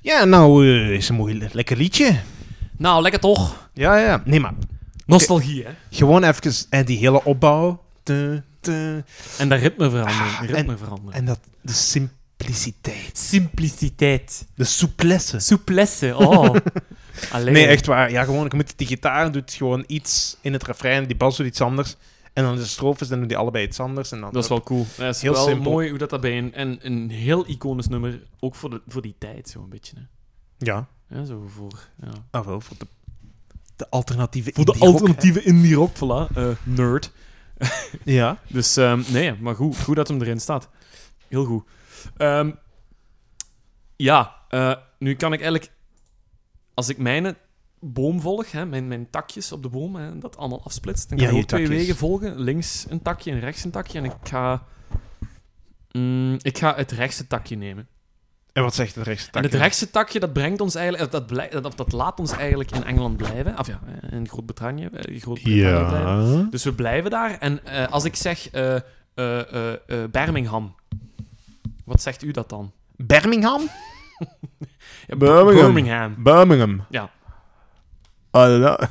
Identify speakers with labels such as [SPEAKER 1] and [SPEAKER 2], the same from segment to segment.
[SPEAKER 1] Ja, nou eh, is een moeilijk lekker liedje.
[SPEAKER 2] Nou, lekker toch?
[SPEAKER 1] Ja, ja. Nee, maar
[SPEAKER 2] Nostalgie, hè?
[SPEAKER 1] gewoon even eh, die hele opbouw. Te, te,
[SPEAKER 2] En de ritmeverandering.
[SPEAKER 1] Ah,
[SPEAKER 2] ritmeverandering.
[SPEAKER 1] en dat, de simpliciteit.
[SPEAKER 2] Simpliciteit.
[SPEAKER 1] De souplesse.
[SPEAKER 2] Souplesse, oh. Allee.
[SPEAKER 1] Nee, echt waar. Ja, gewoon, ik moet, die gitaar doet gewoon iets in het refrein, die bas doet iets anders. En dan de strofes, dan doen die allebei iets anders. En dan
[SPEAKER 2] Dat is wel cool. Dat is
[SPEAKER 1] Heel
[SPEAKER 2] wel
[SPEAKER 1] simpel.
[SPEAKER 2] mooi hoe dat daarbij... Een, en een heel iconisch nummer, ook voor, de, voor die tijd, zo'n beetje, hè?
[SPEAKER 1] Ja,
[SPEAKER 2] Ja, zo voor... Ja.
[SPEAKER 1] ah, wel, voor de, de alternatieve
[SPEAKER 2] Voor de
[SPEAKER 1] indie rock,
[SPEAKER 2] alternatieve indie rock, voilà. eh, nerd.
[SPEAKER 1] hè. Ja.
[SPEAKER 2] Dus ehm, nee, maar goed, goed dat hem erin staat. Heel goed. Ehm, ja, eh, nu kan ik eigenlijk... Als ik mijn boom volg, hè, mijn, mijn takjes op de boom, hè, dat allemaal afsplitst, dan kan
[SPEAKER 1] Ja,
[SPEAKER 2] ik
[SPEAKER 1] je
[SPEAKER 2] ook twee
[SPEAKER 1] takjes.
[SPEAKER 2] wegen volgen. Links een takje en rechts een takje. En ik ga... mm, ik ga het rechtse takje nemen.
[SPEAKER 1] En wat zegt het rechtse
[SPEAKER 2] En
[SPEAKER 1] takje?
[SPEAKER 2] het rechtse takje, dat brengt ons eigenlijk, of dat, blij- dat, dat laat ons eigenlijk in Engeland blijven. Of ja, in Groot-Brittannië eh, Groot-Brittannië blijven.
[SPEAKER 1] Ja.
[SPEAKER 2] Dus we blijven daar. En eh, als ik zeg eh, eh, eh, eh, Birmingham, wat zegt u dat dan?
[SPEAKER 1] Birmingham?
[SPEAKER 2] Ja, B-
[SPEAKER 1] Birmingham.
[SPEAKER 2] Birmingham.
[SPEAKER 1] Birmingham.
[SPEAKER 2] Ja.
[SPEAKER 1] Ah, dat-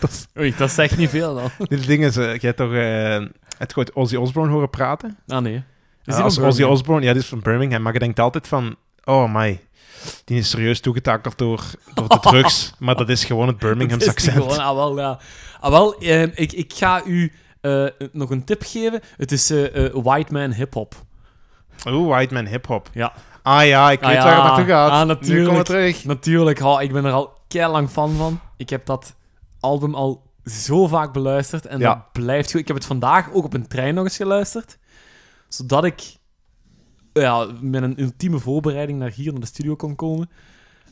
[SPEAKER 1] dat is-
[SPEAKER 2] Oei, dat zegt niet veel dan.
[SPEAKER 1] dit ding is, eh, je hebt toch eh, het goed Ozzy Osbourne horen praten?
[SPEAKER 2] Ah, nee. Is die
[SPEAKER 1] Ja,
[SPEAKER 2] van
[SPEAKER 1] als Ozzy
[SPEAKER 2] Birmingham?
[SPEAKER 1] Osbourne, ja, die is van Birmingham, maar je denkt altijd van, oh my, die is serieus toegetakeld door, door de drugs, maar dat is gewoon het Birminghams
[SPEAKER 2] Dat is die
[SPEAKER 1] accent.
[SPEAKER 2] gewoon, ah, wel, ja. Ah, wel, eh, ik, ik ga u eh, nog een tip geven. Het is eh, eh, White Man Hip Hop.
[SPEAKER 1] Oeh, White Man Hip Hop.
[SPEAKER 2] Ja.
[SPEAKER 1] Ah ja, ik
[SPEAKER 2] Ah
[SPEAKER 1] weet
[SPEAKER 2] ja,
[SPEAKER 1] waar het naartoe gaat.
[SPEAKER 2] ah,
[SPEAKER 1] Nu
[SPEAKER 2] natuurlijk.
[SPEAKER 1] komen we terug.
[SPEAKER 2] Natuurlijk, Hal, ik ben er al lang fan van. Ik heb dat album al zo vaak beluisterd en
[SPEAKER 1] Ja.
[SPEAKER 2] dat blijft goed. Ik heb het vandaag ook op een trein nog eens geluisterd, zodat ik ja, met een ultieme voorbereiding naar hier, naar de studio kon komen.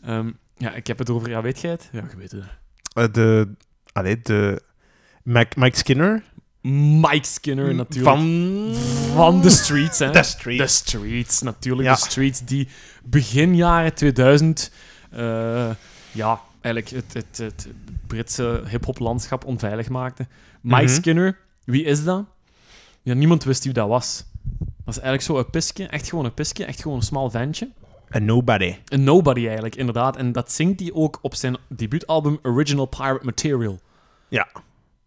[SPEAKER 2] Ehm, ja, ik heb het over, ja, weet jij het? Ja, je weet het.
[SPEAKER 1] Eh, de, allee, de Mac, Mike Skinner
[SPEAKER 2] Mike Skinner natuurlijk.
[SPEAKER 1] Mm, van...
[SPEAKER 2] Van de streets, hè.
[SPEAKER 1] The Street.
[SPEAKER 2] De Streets, natuurlijk.
[SPEAKER 1] Ja.
[SPEAKER 2] De Streets die begin jaren 2000... eh, ja, eigenlijk het, het, het Britse hip-hop landschap onveilig maakte. Mike
[SPEAKER 1] Mhm.
[SPEAKER 2] Skinner, wie is dat? Ja, niemand wist wie dat was. Dat is eigenlijk zo een pisje, echt gewoon een pisje, echt gewoon een smal ventje.
[SPEAKER 1] A Nobody.
[SPEAKER 2] Een nobody eigenlijk, inderdaad. En dat zingt hij ook op zijn debuutalbum Original Pirate Material.
[SPEAKER 1] Ja.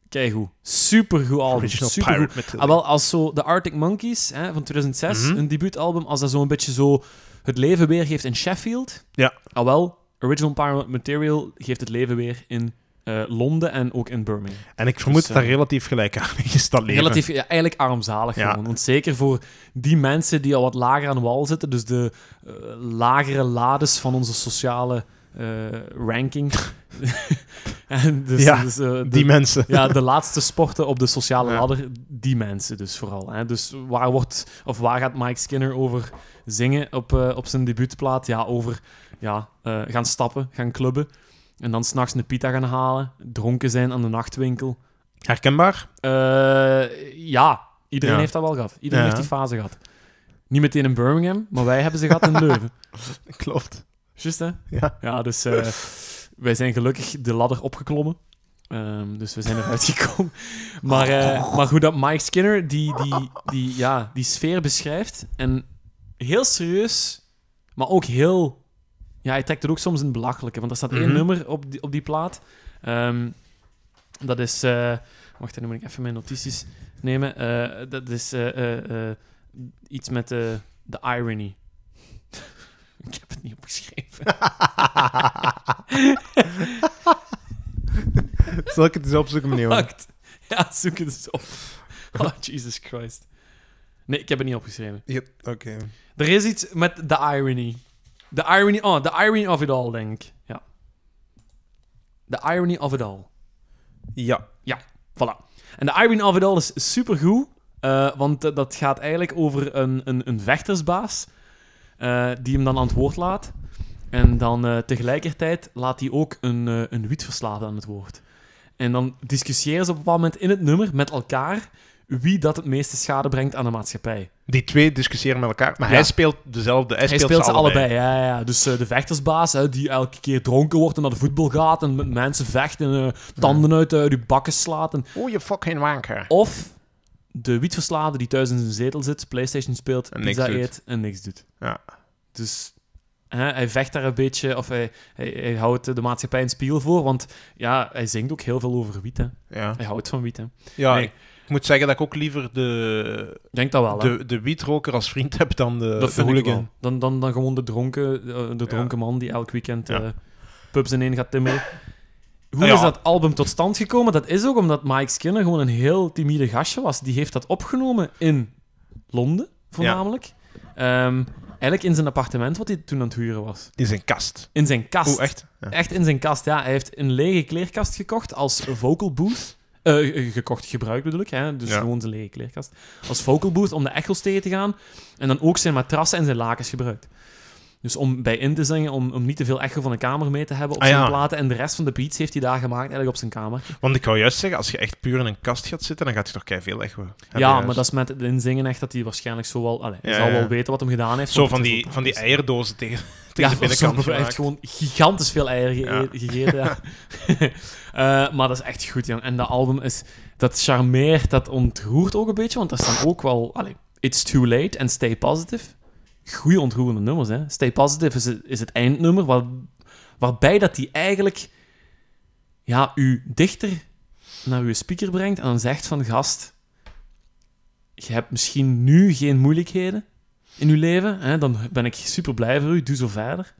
[SPEAKER 2] Kijk hoe. Supergoed album.
[SPEAKER 1] Original
[SPEAKER 2] supergoed.
[SPEAKER 1] Pirate Material.
[SPEAKER 2] Ah, wel, als zo de Arctic Monkeys hè, van 2006,
[SPEAKER 1] Mhm.
[SPEAKER 2] een debuutalbum, als dat zo'n beetje zo het leven weergeeft in Sheffield.
[SPEAKER 1] Ja.
[SPEAKER 2] Ah, wel, Original Pirate Material geeft het leven weer in eh, Londen en ook in Birmingham.
[SPEAKER 1] En ik vermoed
[SPEAKER 2] Dus,
[SPEAKER 1] dat dat
[SPEAKER 2] eh,
[SPEAKER 1] relatief gelijk aan is, dat leven.
[SPEAKER 2] Relatief, ja, eigenlijk armzalig
[SPEAKER 1] Ja.
[SPEAKER 2] gewoon. Want zeker voor die mensen die al wat lager aan de wal zitten, dus de eh, lagere lades van onze sociale eh, ranking. en dus,
[SPEAKER 1] Ja,
[SPEAKER 2] dus, eh, de-
[SPEAKER 1] Die mensen.
[SPEAKER 2] ja, de laatste sporten op de sociale
[SPEAKER 1] Ja.
[SPEAKER 2] ladder, die mensen dus vooral. Hè. Dus waar, wordt, of waar gaat Mike Skinner over zingen op, eh, op zijn debuutplaat? Ja, over ja, eh, gaan stappen, gaan clubben. En dan s'nachts een pita gaan halen. Dronken zijn aan de nachtwinkel.
[SPEAKER 1] Herkenbaar?
[SPEAKER 2] Eh, ja, iedereen
[SPEAKER 1] Ja.
[SPEAKER 2] heeft dat wel gehad. Iedereen
[SPEAKER 1] Ja.
[SPEAKER 2] heeft die fase gehad. Niet meteen in Birmingham, maar wij hebben ze gehad in Leuven.
[SPEAKER 1] Klopt.
[SPEAKER 2] Juist, hè?
[SPEAKER 1] Ja.
[SPEAKER 2] Ja, dus eh, wij zijn gelukkig de ladder opgeklommen. Ehm, dus we zijn eruit gekomen. Maar, eh, maar goed, dat Mike Skinner die, die, die, ja, die sfeer beschrijft. En heel serieus, maar ook heel... Ja, hij trekt het ook soms in het belachelijke. Want er staat één
[SPEAKER 1] Mhm.
[SPEAKER 2] nummer op die, op die plaat. Ehm, dat is... eh, wacht, dan moet ik even mijn notities nemen. Eh, dat is eh, eh, eh, iets met de de irony. ik heb het niet opgeschreven.
[SPEAKER 1] Zal ik het eens opzoeken, meneer? Owen?
[SPEAKER 2] Pakt. Ja, zoek het eens op. Oh, Jesus Christ. Nee, ik heb het niet opgeschreven.
[SPEAKER 1] Ja, Oké.
[SPEAKER 2] Er is iets met de irony. De irony, oh, de irony of it all, denk ik. Ja. The irony of it all.
[SPEAKER 1] Ja.
[SPEAKER 2] Voilà. En de irony of it all is supergoed, eh want eh, dat gaat eigenlijk over een, een, een vechtersbaas eh, die hem dan aan het woord laat. En dan eh, tegelijkertijd laat hij ook een, eh een wietverslaafde aan het woord. En dan discussiëren ze op een bepaald moment in het nummer met elkaar wie dat het meeste schade brengt aan de maatschappij.
[SPEAKER 1] Die twee discussiëren met elkaar, maar
[SPEAKER 2] Ja.
[SPEAKER 1] hij speelt dezelfde. Hij,
[SPEAKER 2] Hij speelt, ze allebei, ja, ja, ja. Dus eh, de vechtersbaas, hè, die elke keer dronken wordt en naar de voetbal gaat en met mensen vecht en eh, tanden uit eh, die bakken slaat. En...
[SPEAKER 1] Oh, je fucking wanker.
[SPEAKER 2] Of de wietverslaafde die thuis in zijn zetel zit, Playstation speelt,
[SPEAKER 1] En niks
[SPEAKER 2] pizza
[SPEAKER 1] doet.
[SPEAKER 2] eet en niks doet.
[SPEAKER 1] Ja.
[SPEAKER 2] Dus Hè, hij vecht daar een beetje, of hij, hij, hij houdt eh, de maatschappij een spiegel voor, want ja, hij zingt ook heel veel over wiet. Hè.
[SPEAKER 1] Ja,
[SPEAKER 2] Hij houdt van wiet. Hè.
[SPEAKER 1] ja
[SPEAKER 2] Nee.
[SPEAKER 1] ik moet zeggen dat ik ook liever de,
[SPEAKER 2] Ik denk dat wel. Hè.
[SPEAKER 1] de, de wietroker als vriend heb dan de,
[SPEAKER 2] dat
[SPEAKER 1] Eh, de
[SPEAKER 2] vind ik
[SPEAKER 1] hooligan.
[SPEAKER 2] wel. Dan, dan, dan gewoon de dronken, eh, de dronken man die elk weekend
[SPEAKER 1] Ja.
[SPEAKER 2] eh, pubs ineen gaat timmeren. Hoe
[SPEAKER 1] Ja.
[SPEAKER 2] is dat album tot stand gekomen? Dat is ook omdat Mike Skinner gewoon een heel timide gastje was. Die heeft dat opgenomen in Londen, voornamelijk. Ehm, eigenlijk in zijn appartement, wat hij toen aan het huren was.
[SPEAKER 1] In zijn kast.
[SPEAKER 2] In zijn kast.
[SPEAKER 1] Oeh, echt? Ja.
[SPEAKER 2] Echt in zijn kast, ja. Hij heeft een lege kleerkast gekocht als vocal booth. Eh, eh, gekocht, gebruikt bedoel ik. Hè? Dus
[SPEAKER 1] Ja.
[SPEAKER 2] gewoon zijn lege kleerkast. Als vocal booth om de echo's tegen te gaan. En dan ook zijn matrassen en zijn lakens gebruikt. Dus om bij in te zingen, om, om niet te veel echo van de kamer mee te hebben op
[SPEAKER 1] Ah,
[SPEAKER 2] zijn
[SPEAKER 1] ja.
[SPEAKER 2] platen. En de rest van de beats heeft hij daar gemaakt, eigenlijk op zijn kamer.
[SPEAKER 1] Want ik wou juist zeggen, als je echt puur in een kast gaat zitten, dan gaat je toch kei veel echo. hebben,
[SPEAKER 2] ja,
[SPEAKER 1] juist.
[SPEAKER 2] maar dat is met het inzingen echt dat hij waarschijnlijk zo wel... Allee, hij
[SPEAKER 1] Ja,
[SPEAKER 2] zal
[SPEAKER 1] ja.
[SPEAKER 2] wel weten wat hem gedaan heeft.
[SPEAKER 1] Zo
[SPEAKER 2] want
[SPEAKER 1] van
[SPEAKER 2] het is
[SPEAKER 1] die,
[SPEAKER 2] wel
[SPEAKER 1] van die
[SPEAKER 2] thuis.
[SPEAKER 1] eierdozen tegen, tegen
[SPEAKER 2] Ja,
[SPEAKER 1] de binnenkant
[SPEAKER 2] Hij
[SPEAKER 1] gemaakt.
[SPEAKER 2] heeft gewoon gigantisch veel eieren ge-
[SPEAKER 1] Ja.
[SPEAKER 2] gegeten. Ja. Eh, maar dat is echt goed, jong. En dat album is... Dat charmeert, dat ontroert ook een beetje, want daar staan ook wel... Allee, It's Too Late en Stay Positive. Goeie ontroerende nummers, hè. Stay Positive is het, is het eindnummer, waar, waarbij dat die eigenlijk... Ja, u dichter naar uw speaker brengt en dan zegt van... Gast, je hebt misschien nu geen moeilijkheden in uw leven, hè, dan ben ik super blij voor u, doe zo verder.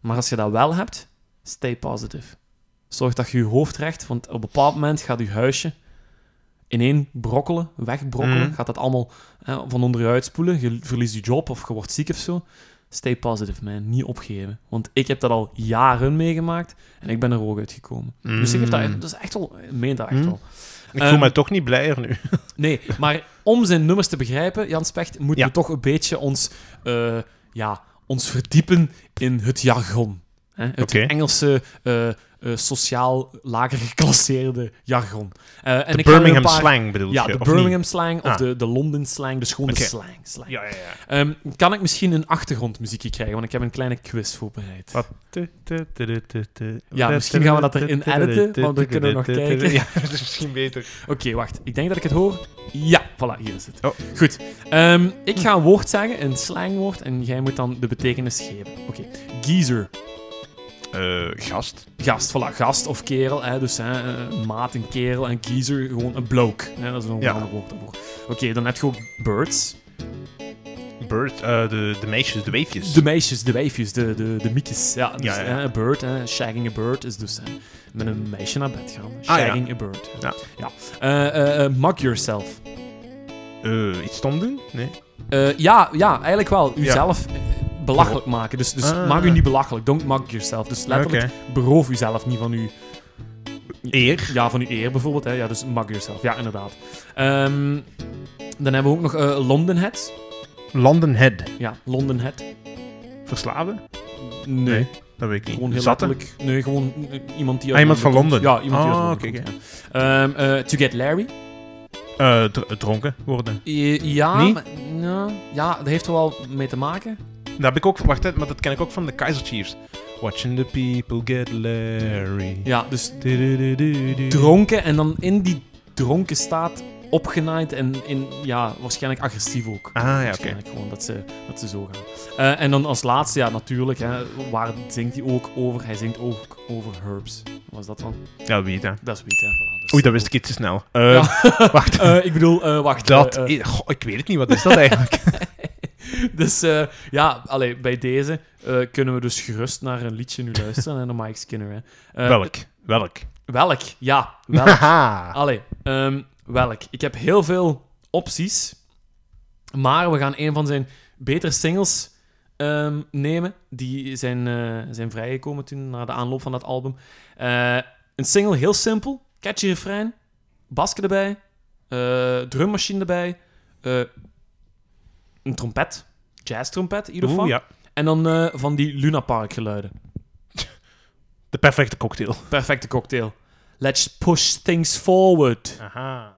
[SPEAKER 2] Maar als je dat wel hebt, stay positive. Zorg dat je je hoofd recht, want op een bepaald moment gaat je huisje ineen brokkelen, wegbrokkelen.
[SPEAKER 1] Mhm.
[SPEAKER 2] Gaat dat allemaal hè, van onder je uitspoelen. Je verliest je job of je wordt ziek of zo. Stay positive, man. Niet opgeven. Want ik heb dat al jaren meegemaakt en ik ben er ook uitgekomen. Dus ik heb dat,
[SPEAKER 1] Hmm. Mm.
[SPEAKER 2] dat is echt wel, ik meen dat echt
[SPEAKER 1] Mhm.
[SPEAKER 2] wel.
[SPEAKER 1] Ik voel
[SPEAKER 2] Ehm,
[SPEAKER 1] mij toch niet blijer nu.
[SPEAKER 2] Nee, maar om zijn nummers te begrijpen, Jan Specht, moeten
[SPEAKER 1] Ja.
[SPEAKER 2] we toch een beetje ons, eh, ja, ons verdiepen in het jargon. Hè? Het
[SPEAKER 1] Oké.
[SPEAKER 2] Engelse, eh, eh, sociaal lager geclasseerde jargon. Eh,
[SPEAKER 1] De
[SPEAKER 2] en ik ga er een
[SPEAKER 1] Birmingham
[SPEAKER 2] paar-
[SPEAKER 1] slang bedoel
[SPEAKER 2] Ja,
[SPEAKER 1] je,
[SPEAKER 2] de
[SPEAKER 1] of niet?
[SPEAKER 2] Birmingham slang of
[SPEAKER 1] Ah.
[SPEAKER 2] de, de London slang, dus gewoon
[SPEAKER 1] Oké.
[SPEAKER 2] de slang. slang.
[SPEAKER 1] Ja, ja, ja.
[SPEAKER 2] Ehm, kan ik misschien een achtergrondmuziekje krijgen? Want ik heb een kleine quiz voorbereid.
[SPEAKER 1] Wat? Ja,
[SPEAKER 2] Ja, misschien gaan we dat erin editen, want dan kunnen we nog kijken.
[SPEAKER 1] Ja, dat is misschien beter.
[SPEAKER 2] Oké, wacht. Ik denk dat ik het hoor. Ja, voilà, hier is het.
[SPEAKER 1] Oh.
[SPEAKER 2] Goed. Ehm, ik ga een woord zeggen, een slangwoord, en jij moet dan de betekenis geven. Oké. Geezer.
[SPEAKER 1] Eh, gast.
[SPEAKER 2] Gast, voilà. Gast of kerel, hè. Dus hè, een maat, een kerel. En geezer, gewoon een bloke. Hè, dat is nog een
[SPEAKER 1] Ja.
[SPEAKER 2] ander woord daarvoor. Oké, dan heb je ook birds.
[SPEAKER 1] Bird. eh, de, de meisjes, de weefjes.
[SPEAKER 2] De meisjes, de wijfjes, de, de, de miekjes. Ja, dus,
[SPEAKER 1] Ja, ja.
[SPEAKER 2] hè, een bird, hè. shagging a bird is dus hè, met een meisje naar bed gaan.
[SPEAKER 1] Ah, ja.
[SPEAKER 2] Shagging a bird.
[SPEAKER 1] Ja.
[SPEAKER 2] ja. Eh, eh, eh, mug yourself.
[SPEAKER 1] Eh, iets stom doen? Nee.
[SPEAKER 2] Eh, ja, ja, eigenlijk wel.
[SPEAKER 1] Ja.
[SPEAKER 2] Uzelf eh, belachelijk maken. Dus, dus
[SPEAKER 1] Ah.
[SPEAKER 2] maak u niet belachelijk. Don't mug yourself. Dus letterlijk,
[SPEAKER 1] Oké.
[SPEAKER 2] beroof uzelf niet van uw,
[SPEAKER 1] Eer.
[SPEAKER 2] ja, van uw eer bijvoorbeeld. Hè. Ja, dus mug yourself. Ja, inderdaad. Ehm, dan hebben we ook nog eh, London Head.
[SPEAKER 1] London Head.
[SPEAKER 2] Ja, London Head.
[SPEAKER 1] Verslaven?
[SPEAKER 2] Nee,
[SPEAKER 1] Nee, Dat weet ik niet.
[SPEAKER 2] gewoon heel
[SPEAKER 1] Zatten?
[SPEAKER 2] letterlijk. Nee, gewoon eh, iemand die
[SPEAKER 1] Ah, iemand van
[SPEAKER 2] komt.
[SPEAKER 1] Londen.
[SPEAKER 2] Ja, iemand die uit
[SPEAKER 1] Ah,
[SPEAKER 2] Londen
[SPEAKER 1] oké,
[SPEAKER 2] komt, ja. Ehm, eh, To Get Larry.
[SPEAKER 1] Eh, dr- dronken worden.
[SPEAKER 2] Eh, ja,
[SPEAKER 1] Niet?
[SPEAKER 2] maar- ja, ja, dat heeft er wel mee te maken.
[SPEAKER 1] Dat heb ik ook. Wacht, hè, maar dat ken ik ook van de Kaiser Chiefs. Watching the people get Larry.
[SPEAKER 2] Ja, dus
[SPEAKER 1] Du-du-du-du-du.
[SPEAKER 2] dronken en dan in die dronken staat opgenaaid en in, ja, waarschijnlijk agressief ook.
[SPEAKER 1] Ah ja, oké.
[SPEAKER 2] waarschijnlijk gewoon dat ze, dat ze zo gaan. Eh, en dan als laatste, ja, natuurlijk, hè, waar zingt hij ook over? Hij zingt ook over herbs. Was dat dan?
[SPEAKER 1] Ja, weet hè.
[SPEAKER 2] Dat is weet, hè. Voilà, dus-
[SPEAKER 1] Oei, dat wist ik iets te snel. Eh, Wacht.
[SPEAKER 2] Eh, ik bedoel, eh, wacht.
[SPEAKER 1] Dat
[SPEAKER 2] eh, eh,
[SPEAKER 1] is- Goh, ik weet het niet, wat is dat eigenlijk?
[SPEAKER 2] dus eh, ja, allee, bij deze eh, kunnen we dus gerust naar een liedje nu luisteren. en dan Mike Skinner. Hè. Eh,
[SPEAKER 1] welk? Welk?
[SPEAKER 2] Welk? Ja, welk.
[SPEAKER 1] Haha.
[SPEAKER 2] Allee, ehm, welk? Ik heb heel veel opties. Maar we gaan een van zijn betere singles ehm, nemen. Die zijn, eh, zijn vrijgekomen toen, na de aanloop van dat album. Eh, een single, heel simpel. Catchy refrein. Basken erbij. eh, drummachine erbij. eh, een trompet. Jazz trompet, in ieder geval.
[SPEAKER 1] Oeh, ja.
[SPEAKER 2] En dan eh, van die Luna Park geluiden.
[SPEAKER 1] De perfecte cocktail.
[SPEAKER 2] Perfecte cocktail. Let's push things forward.
[SPEAKER 1] Aha.